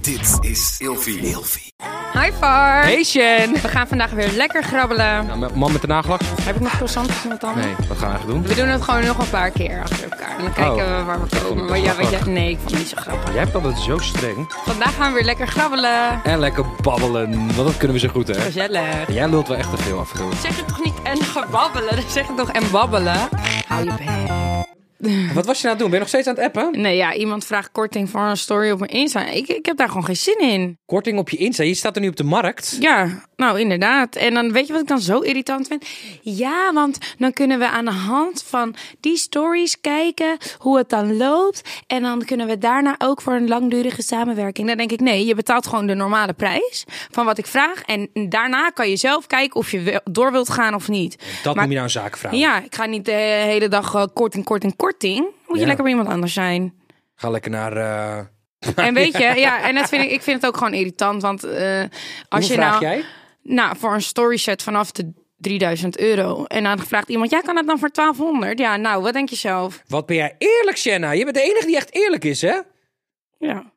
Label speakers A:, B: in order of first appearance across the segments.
A: Dit is Ilfie.
B: Hi Far.
C: Hey Shen!
B: We gaan vandaag weer lekker grabbelen.
C: Nou, m- man met de nagelak?
B: Heb ik nog croissantjes in mijn tanden?
C: Nee, wat gaan we eigenlijk doen?
B: We doen het gewoon nog een paar keer achter elkaar. En dan kijken
C: Oh.
B: we waar we
C: vond
B: komen.
C: ik
B: Maar ja, weet
C: grappig.
B: je, nee, ik vond het niet zo grappig.
C: Jij hebt altijd zo streng.
B: Vandaag gaan we weer lekker grabbelen.
C: En lekker babbelen, want dat kunnen we zo goed hè.
B: Gezellig.
C: Jij lult wel echt te veel af en toe.
B: Zeg het toch niet en gebabbelen? Dan Zeg het toch en babbelen? Hou je bek.
C: Wat was je nou aan het doen? Ben je nog steeds aan het appen?
B: Nee, ja, iemand vraagt korting voor een story op mijn Insta. Ik, ik heb daar gewoon geen zin in.
C: Korting op je Insta. Je staat er nu op de markt.
B: Ja, nou inderdaad. En dan weet je wat ik dan zo irritant vind? Ja, want dan kunnen we aan de hand van die stories kijken hoe het dan loopt. En dan kunnen we daarna ook voor een langdurige samenwerking. Dan denk ik, nee, je betaalt gewoon de normale prijs van wat ik vraag. En daarna kan je zelf kijken of je wel- door wilt gaan of niet.
C: Dat
B: Maar-
C: noem je nou een zaakvrouw.
B: Ja, ik ga niet de hele dag eh, korting, korting, korting. Moet je
C: Ja.
B: lekker bij iemand anders zijn.
C: Ga lekker naar... eh,
B: En weet je, ja, en dat vind ik, ik vind het ook gewoon irritant. Want eh, als
C: Hoe
B: je
C: vraag
B: nou,
C: jij?
B: nou voor een story set vanaf de 3000 euro en dan vraagt iemand, ja, kan het dan voor 1200? Ja, nou, wat denk je zelf?
C: Wat ben jij eerlijk, Shenna? Je bent de enige die echt eerlijk is, hè?
B: Ja,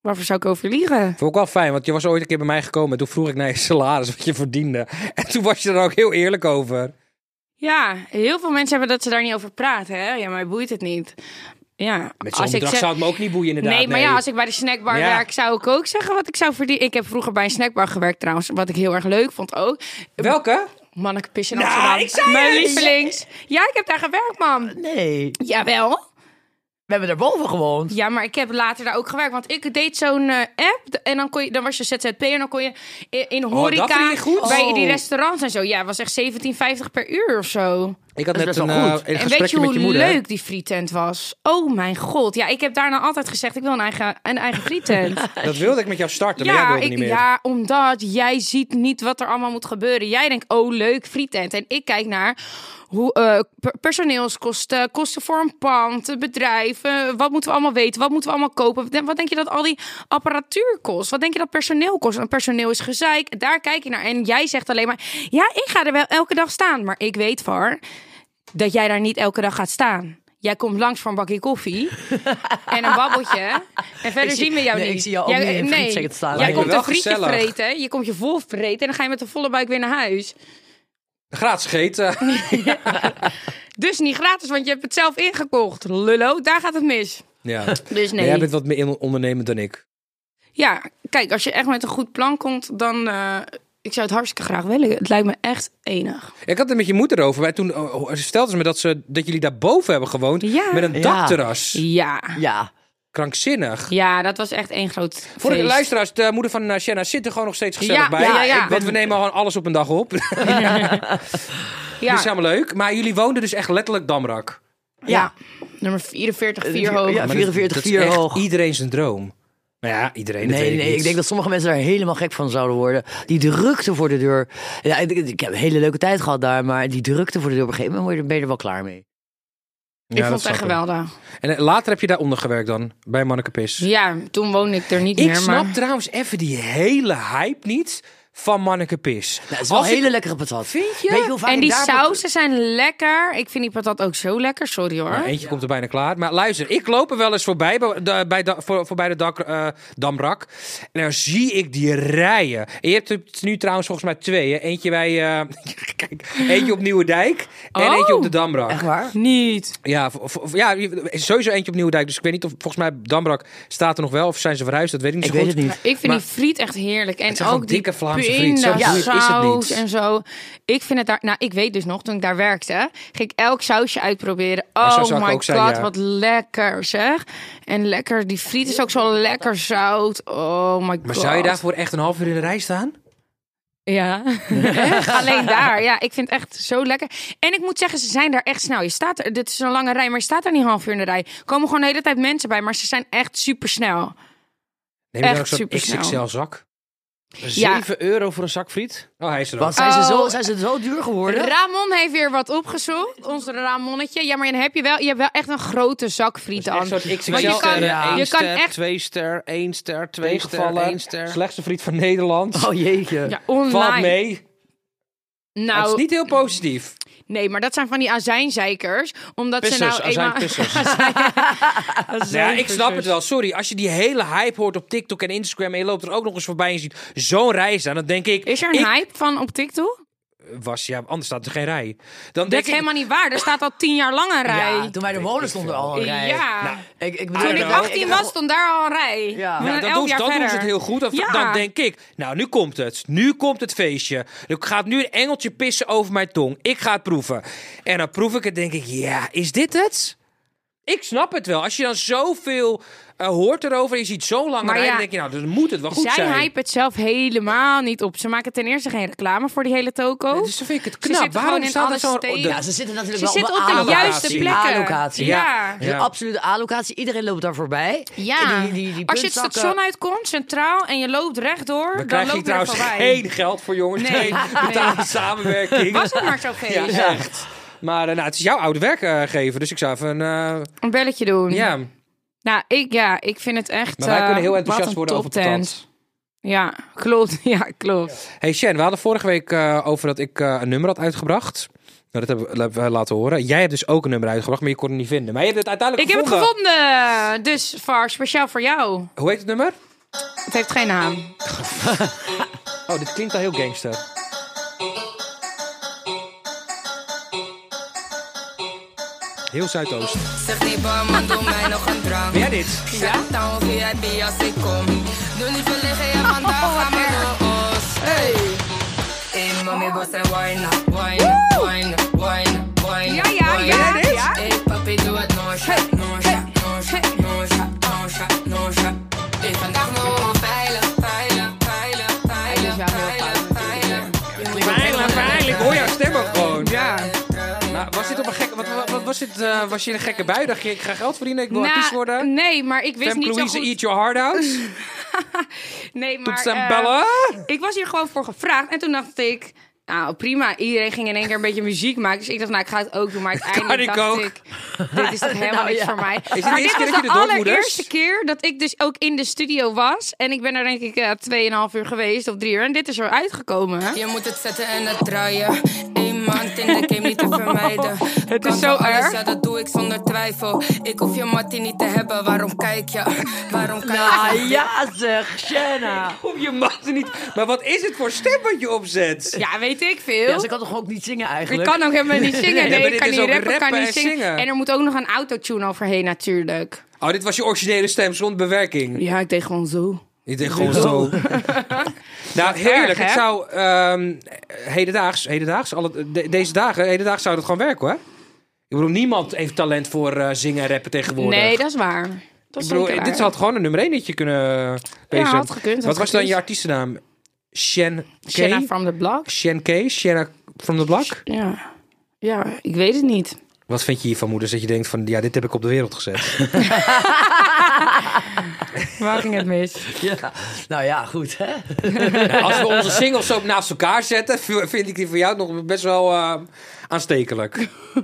B: waarvoor zou ik over liegen?
C: Vond ik wel fijn, want je was ooit een keer bij mij gekomen... en toen vroeg ik naar je salaris, wat je verdiende. En toen was je er ook heel eerlijk over.
B: Ja, heel veel mensen hebben dat ze daar niet over praten, hè? Ja, mij boeit het niet. Ja,
C: Met zo'n bedrag
B: ze-
C: zou het me ook niet boeien, inderdaad.
B: Nee, maar ja, als ik bij de snackbar
C: Ja.
B: werk, zou ik ook zeggen wat ik zou verdienen. Ik heb vroeger bij een snackbar gewerkt trouwens, wat ik heel erg leuk vond ook.
C: Welke?
B: Manneke Pis in
C: Nou,
B: Amsterdam.
C: ik zei
B: Mijn
D: het.
B: lievelings. Ja, ik heb daar gewerkt, mam.
D: Nee,
B: Jawel.
D: we hebben daarboven gewoond.
B: Ja, maar ik heb later daar ook gewerkt. Want ik deed zo'n eh, app. d- En dan, kon je, dan was je ZZP en dan kon je in, in
C: Oh, dat
B: horeca
C: vind je goed?
B: bij
D: Oh.
B: die restaurants en zo. Ja, het was echt 17,50 per uur of zo.
C: Ik had
D: Dat is
C: net
D: best
C: een,
D: wel goed.
C: eh, een
B: en weet je
C: gesprekje met
B: hoe
C: je moeder.
B: leuk die frietent was? Oh mijn god. Ja, ik heb daarna altijd gezegd, ik wil een eigen, een eigen frietent.
C: Dat wilde ik met jou starten, maar jij
B: ja,
C: wilde
B: ik,
C: niet meer.
B: ja, omdat jij ziet niet wat er allemaal moet gebeuren. Jij denkt, oh leuk, frietent. En ik kijk naar hoe, eh, per- personeelskosten, kosten voor een pand, een bedrijf. eh, wat moeten we allemaal weten? Wat moeten we allemaal kopen? Wat- Wat denk je dat al die apparatuur kost? Wat denk je dat personeel kost? En personeel is gezeik. Daar kijk je naar. En jij zegt alleen maar, ja, ik ga er wel elke dag staan. Maar ik weet, Var, dat jij daar niet elke dag gaat staan. Jij komt langs voor een bakje koffie en een babbeltje. En verder
D: zie-
B: zien we jou
D: nee,
B: niet.
D: ik zie jou ook
B: Jij-
D: niet in een frietzakken staan.
B: Jij
D: Lijkt me
B: komt
C: wel
B: een frietje
C: gezellig.
B: vreten, je komt je vol vreten... en dan ga je met een volle buik weer naar huis.
C: Gratis gegeten.
B: Dus niet gratis, want je hebt het zelf ingekocht. Lullo, daar gaat het mis.
C: ja.
B: Dus
C: Maar
B: nee.
C: Jij bent wat meer on- ondernemend dan ik.
B: Ja, kijk, als je echt met een goed plan komt... dan... eh, ik zou het hartstikke graag willen. Het lijkt me echt enig.
C: Ik had het met je moeder over. Maar toen oh, oh, stelde ze me dat, ze, dat jullie daarboven hebben gewoond.
B: Ja.
C: Met een
D: Ja.
C: dakterras.
B: Ja.
D: Ja,
C: Krankzinnig.
B: Ja, dat was echt één groot feest.
C: Voor de luisteraars, de moeder van eh, Shanna zit er gewoon nog steeds gezellig
B: Ja,
C: bij.
B: ja, ja.
C: Ik- Want we nemen gewoon alles op een dag op.
B: Ja.
D: Dus
C: Dat is helemaal leuk. Maar jullie woonden dus echt letterlijk Damrak.
B: Ja. Nummer 44, 4 hoog.
D: Ja,
C: Maar dat-
D: 44,
C: dat is
D: 4
C: echt
D: hoog.
C: iedereen zijn droom. Nou ja, iedereen. dat
D: Nee,
C: weet
D: nee, ik
C: niet.
D: denk dat sommige mensen daar helemaal gek van zouden worden. Die drukte voor de deur. Ja, ik, ik heb een hele leuke tijd gehad daar, maar die drukte voor de deur op een gegeven moment word je- ben je er wel klaar mee.
B: ik
C: Ja, dat
B: vond het
C: snap
B: echt geweldig.
C: En eh, later heb je daaronder gewerkt dan, bij Manneke Pis.
B: Ja, toen woonde ik er niet
C: Ik
B: meer.
C: snap
B: maar...
C: trouwens even die hele hype niet van Manneke Pis.
D: Nou, het is wel
C: Als
D: een
C: ik-
D: hele lekkere patat.
C: Vind je?
D: Weet je hoe vaak
B: En
D: ik
B: die
D: daar-
B: sausen zijn lekker. Ik vind die patat ook zo lekker. Sorry hoor.
C: Nou, eentje komt er bijna klaar. Maar luister, ik loop er wel eens voorbij bij de, bij da- voor, voorbij de dak, eh, Damrak. En dan zie ik die rijen. En je hebt het nu trouwens volgens mij twee. Hè? Eentje bij... eh, kijk, eentje op Nieuwedijk en
B: Oh.
C: eentje op de Damrak.
D: Echt waar?
B: Niet.
C: Ja, voor- voor- ja, sowieso eentje op Nieuwedijk. Dus ik weet niet of volgens mij Damrak staat er nog wel. Of zijn ze verhuisd, dat weet ik niet
D: Ik
C: zo
D: weet
C: goed.
D: het niet.
B: Ik vind
C: Maar-
B: die friet echt heerlijk. En
C: Het zijn
B: ook
C: gewoon
B: die
C: dikke Vlaamse friet. Zo
B: pindasaus
C: duur is het niet.
B: en zo. Ik vind het daar... Nou, ik weet dus nog, toen ik daar werkte, ging ik elk sausje uitproberen.
C: zo
B: Oh
C: zou ik
B: my god,
C: ook zijn, ja.
B: wat lekker zeg. En lekker, die friet is ook zo lekker zout. Oh my god.
C: Maar zou je daarvoor echt een half uur in de rij staan?
B: Ja. Echt? Alleen daar. Ja, ik vind het echt zo lekker. En ik moet zeggen, ze zijn daar echt snel. Je staat er, dit is een lange rij, maar je staat daar niet een half uur in de rij. Er komen gewoon de hele tijd mensen bij, maar ze zijn echt super snel.
C: Neem je dan
B: Echt
C: ook zo'n
B: supersnel.
C: XXL-zak?
B: Ja.
E: 7 euro voor een zak friet?
C: Oh, hij is er ook.
D: Want zijn, ze zo,
B: Oh.
D: zijn ze zo duur geworden?
B: Ramon heeft weer wat opgezocht. Ons Ramonnetje. Ja, maar dan heb je wel, je hebt wel echt een grote zak frieten aan.
E: Want
B: je kan-
D: ja.
E: één
B: je kan
E: ster,
B: echt-
E: twee ster, één ster, twee ster,
C: Tegenvallen.
E: één ster.
B: Oh
C: Slechtste vriend van Nederland.
D: Oh jeetje.
B: Ja,
C: Valt
B: online.
C: mee. Maar het
B: Nou,
C: is niet heel positief.
B: nee, maar dat zijn van die azijnzeikers. Omdat
E: Pissers,
B: ze nou eenmaal...
E: azijnpissers.
C: Nou ja, ik snap het wel. Sorry, als je die hele hype hoort op TikTok en Instagram en je loopt er ook nog eens voorbij en je ziet zo'n rij staan, dan denk ik...
B: Is er een
C: ik
B: hype van op TikTok?
C: Was, ja, anders staat er geen rij. Dan
B: Dat
C: denk
B: is
C: ik,
B: helemaal niet waar. Er staat al tien jaar lang een
D: Ja,
B: rij.
D: toen wij de molen stonden al een rij.
B: Ja.
C: Nou,
D: Ik, ik
B: Toen
D: bedoel,
B: ik
C: know.
B: 18 was, stond daar al een rij.
D: Ja.
B: We
D: Nou,
B: zijn
C: Nou, dat
B: elf
C: doen, ze-
B: jaar
C: dat doen ze
B: verder.
C: het heel goed. Dan,
B: Ja.
C: dan denk ik, nou, nu komt het. Nu komt het feestje. Er gaat nu een engeltje pissen over mijn tong. Ik ga het proeven. En dan proef ik het, denk ik, ja, is dit het? Ik snap het wel. Als je dan zoveel eh, hoort erover en je ziet zo lang
B: Maar
C: rijden,
B: ja,
C: dan denk je, nou, dan moet het wel goed
B: Zij
C: zijn.
B: hype het zelf helemaal niet op. Ze maken ten eerste geen reclame voor die hele toko.
C: Dus dan vind ik het
B: Ze
C: knap.
B: zitten
C: Waarom
B: gewoon in
C: staat er
B: alle
C: zo'n... Oh,
B: steden.
C: de-
B: Ja,
D: Ja, ze zitten natuurlijk
B: Ze
D: wel
B: zitten op
D: een
B: de juiste
C: allocatie.
B: plekken.
D: Allocatie.
B: Ja.
D: Dus
C: Ja.
D: absoluut de A-locatie. Iedereen loopt daar voorbij.
B: Ja.
D: Die, die, die
B: Als je het
D: puntzakken-
B: station uitkomt, centraal, en je loopt rechtdoor,
C: We
B: dan
C: krijgen hier
B: loopt er
C: trouwens
B: voorbij.
C: geen geld voor jongens.
B: Nee.
C: Nee, betaalde
B: Nee.
C: samenwerking.
B: Was het maar zo feest.
C: Ja, echt. Maar eh, nou, het is jouw oude werkgever, dus ik zou even... eh,
B: Een belletje doen.
C: ja,
B: Nou, ik, ja, ik vind het echt...
C: maar wij
B: eh,
C: kunnen heel
B: wat
C: enthousiast
B: een
C: worden over
B: toptent.
C: patat.
B: Ja, klopt. Ja, klopt.
C: Hey Shen, we hadden vorige week eh, over dat ik eh, een nummer had uitgebracht. Nou, dat hebben we- hebben we laten horen. Jij hebt dus ook een nummer uitgebracht, maar je kon het niet vinden. Maar je hebt het
B: Ik
C: uiteindelijk
B: heb het
C: gevonden.
B: gevonden. Dus, Var, speciaal voor jou.
C: Hoe heet het nummer?
B: Het heeft geen naam.
C: Oh, dit klinkt al heel gangster. Heel Zuidoost.
A: Zeg die barman, doe mij nog een drank.
C: Ben jij dit?
A: Shut down, VIP als ik kom. Doe niet verlegen, ja, vandaag
B: Oh,
A: gaan we door ons. Hey! Hey, mommy, was en wine, wine, wine, wine, wine.
B: Ja, ja, ja,
A: wine.
B: Ben jij dit? ja.
A: Hey, papi, doe het no shot, no shot, no shot, no shot, no shot, no shot. Hey, vandaag nog veilig, veilig, veilig, veilig,
B: is wel heel
A: veilig,
C: Veilig,
A: veilig.
C: veilig. Ik hoor jouw stem ook gewoon.
B: Ja.
C: Maar was dit op een gekke... Wat, wat, wat was dit? eh, was je in een gekke bui? Dacht je, ik ga geld verdienen, ik wil
B: Nou,
C: artiest worden?
B: Nee, maar ik wist
C: Fem
B: niet
C: Louise,
B: zo goed.
C: eat your heart out.
B: Nee, maar...
C: Toets en
B: eh,
C: bellen.
B: ik was hier gewoon voor gevraagd. En toen dacht ik, nou prima. Iedereen ging in één keer een beetje muziek maken. Dus ik dacht, nou ik ga het ook doen. Maar uiteindelijk
C: ik
B: dacht
C: ook.
B: ik, dit is toch helemaal
D: Nou,
B: niks
D: ja.
B: voor mij.
C: dit
B: maar
C: de eerste
B: dit
C: keer
B: was de
C: dat je de doodmoeders-
B: allereerste keer dat ik dus ook in de studio was. En ik ben er denk ik eh 2,5 uur geweest of drie uur. En dit is er uitgekomen.
A: Je moet het zetten en het draaien. Eén maand in de game niet te vermijden.
B: Het
A: Kan
B: is zo
A: van alles,
B: erg.
A: Ja, dat doe ik zonder twijfel. Ik hoef je mattie niet te hebben, waarom kijk je? Waarom kijk je?
D: Ah, ja zeg, Shanna.
C: Kom, je mag er niet... Maar wat is het voor stem wat je opzet?
B: Ja, weet ik
D: Ja,
B: veel.
D: ze kan toch ook niet zingen
B: ik
D: eigenlijk?
B: kan ook helemaal niet zingen.
C: maar
B: Nee, ik
C: dit
B: kan
C: is
B: niet
C: ook
B: rappen, ik kan
C: rappen
B: niet
C: en
B: zingen.
C: zingen.
B: En er moet ook nog een autotune overheen natuurlijk.
C: Oh, dit was je originele stem zonder bewerking.
B: Ja, ik deed gewoon zo.
C: Ik denk gewoon zo. nou,
B: erg,
C: heerlijk.
B: hè?
C: Het zou ehm, hedendaags, hedendaags alle, de- deze dagen, hedendaags zou dat gewoon werken hoor. Ik bedoel, niemand heeft talent voor eh, zingen en rappen tegenwoordig.
B: Nee, dat is waar. Dat
C: Ik
B: is
C: bedoel,
B: zeker
C: dit
B: waar.
C: had gewoon een nummer 1 dat je kunnen bezig.
B: had gekund, had
C: Wat was dan
B: gekund.
C: je artiestennaam? Shen K?
B: Shanna from the Block.
C: Shen K? Shanna from the Block?
B: Ja. ja, ik weet het niet.
C: Wat vind je hiervan, moeders? Dat je denkt van, ja, dit heb ik op de wereld gezet.
B: Waar ging het mis?
D: Ja. Nou ja, goed hè.
C: Nou, als we onze singles zo naast elkaar zetten, v- vind ik die voor jou nog best wel eh, aanstekelijk. ja.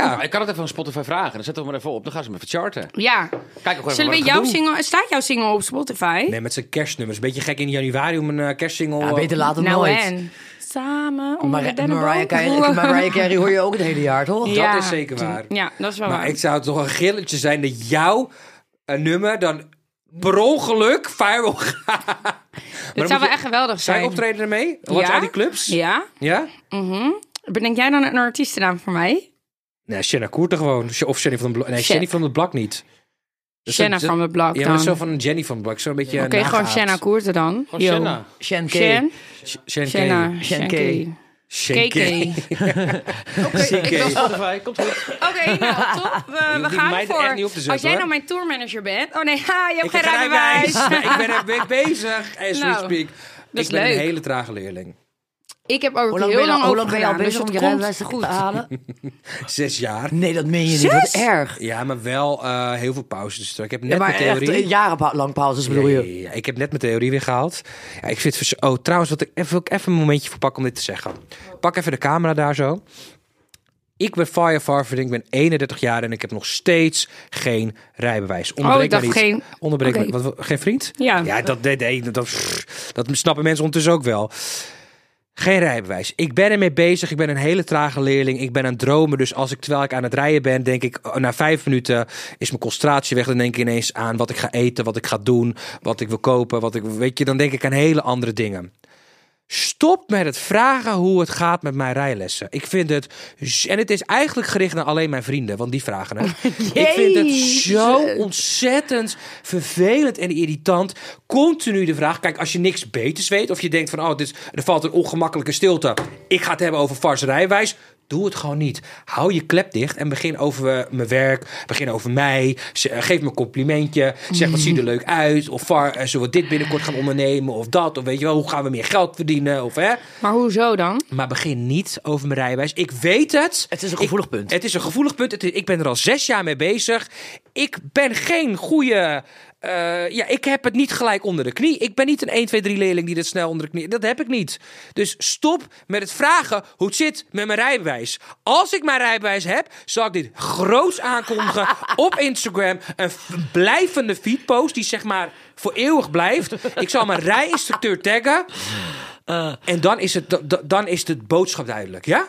E: Maar Nou, ik kan het even aan Spotify vragen. Dan zetten we hem maar even op. Dan gaan ze hem even charten.
B: Ja.
E: Kijk ook
B: Zullen we
E: even wat het gaat
B: jouw
E: doen.
B: single... Staat jouw single op Spotify?
C: Nee, met zijn kerstnummers. Beetje gek in januari om een eh, kerstsingle...
D: Ja, beter laat dan
B: nou
D: nooit.
B: en? Oh, Samen onder
D: Maar,
B: de
D: Mariah, Carey, Mariah Carey hoor je ook het hele jaar, toch?
C: Dat is zeker waar.
B: Ja, dat is wel
C: Maar
B: waar.
C: ik zou het toch een grilletje zijn dat jouw eh, nummer dan per ongeluk viral gaat.
B: dat
C: moet
B: zou wel
C: je-
B: echt geweldig zijn.
C: Zij optreden ermee? Wat
B: Ja.
C: zijn die clubs? Ja?
B: Ja. Bedenk jij dan een artiestennaam voor mij?
C: Nee, Shanna Koerten gewoon. Of Jenny van de Blok. Nee,
B: Shit.
C: Jenny van de Blok niet. Dus
B: Shanna
C: dat-
B: from the Block
C: Ja, maar
B: dan.
C: dat is zo van Jenny van de Blok. Zo'n beetje
B: Oké, gewoon Shanna Koerte dan.
E: Gewoon Shanna.
D: Shan K.
B: Shan?
C: Shanna.
B: Shanna.
D: Shan
B: Shan K.
D: K.
B: KK.
E: Ik wil Spotify. Komt goed.
B: Oké, nou, top. We, we
C: hoeft die
B: gaan
C: meid er
B: ervoor.
C: echt niet op te zetten,
B: Als jij
C: hoor.
B: nou mijn tourmanager bent... Oh nee, ha, je hebt
C: Ik
B: geen
C: heb geen
B: rijbewijs.
C: rijbewijs. Nee, ik ben er mee bezig. As we
B: Nou,
C: speak.
B: is
C: Ik ben
B: leuk.
C: een hele trage leerling.
B: Ik heb ook heel
D: Hoe lang ben je,
B: lang
D: al-
B: over
D: hoe lang ben je al
B: gedaan, dus
D: bezig om
B: het
D: je
B: komt
D: rijbewijs te goed halen?
C: Zes jaar.
D: Nee, dat meen je niet. Wat
B: Zes?
D: erg.
C: Ja, maar wel eh, heel veel pauzes. Ik heb net
D: Ja, maar
C: mijn
D: echt
C: theorie.
D: eh, jaren pa- lang pauzes bedoel
C: Ja,
D: je?
C: ja, ja. Ik heb net mijn theorie weer gehaald. Ja, ik vind het vers- oh, trouwens, wat ik even, wil ik even een momentje voor pakken om dit te zeggen. Pak even de camera daar zo. Ik ben Fire Farverding, ik ben 31 jaar en ik heb nog steeds geen rijbewijs. Onderbreek
B: Oh, ik dacht
C: me niet.
B: geen-
C: Onderbreek me-
B: Oké.
C: wat- wat- geen vriend?
B: Ja.
C: Ja, dat, dat, dat, dat, dat snappen mensen ondertussen ook wel. Geen rijbewijs. Ik ben ermee bezig. Ik ben een hele trage leerling. Ik ben aan het dromen. Dus als ik terwijl ik aan het rijden ben, denk ik, oh, na vijf minuten is mijn concentratie weg. Dan denk ik ineens aan wat ik ga eten, wat ik ga doen, wat ik wil kopen. Wat ik, weet je, dan denk ik aan hele andere dingen. Stop met het vragen hoe het gaat met mijn rijlessen. Ik vind het. z- En het is eigenlijk gericht naar alleen mijn vrienden, want die vragen het. ik vind het zo ontzettend vervelend en irritant. Continu de vraag. Kijk, als je niks beters weet, of je denkt van, oh, dit is, er valt een ongemakkelijke stilte. Ik ga het hebben over vars rijwijs. Doe het gewoon niet. Hou je klep dicht en begin over eh, mijn werk. Begin over mij. Z- eh, Geef me een complimentje. Zeg wat ziet er leuk uit. Of var, eh, zullen we dit binnenkort gaan ondernemen? Of dat. Of weet je wel, hoe gaan we meer geld verdienen? Of, hè?
B: Maar hoezo dan?
C: Maar begin niet over mijn rijbewijs. Ik weet het.
D: Het is een gevoelig punt.
C: Het is een gevoelig punt. Het is- ik ben er al zes jaar mee bezig. Ik ben geen goede. eh, ja, ik heb het niet gelijk onder de knie. Ik ben niet een 1, 2, 3 leerling die dat snel onder de knie. Dat heb ik niet. Dus stop met het vragen hoe het zit met mijn rijbewijs. Als ik mijn rijbewijs heb, zal ik dit groots aankondigen op Instagram. Een f- blijvende feedpost die zeg maar voor eeuwig blijft. Ik zal mijn rijinstructeur taggen. En dan is, het, da- da- dan is de boodschap duidelijk, ja?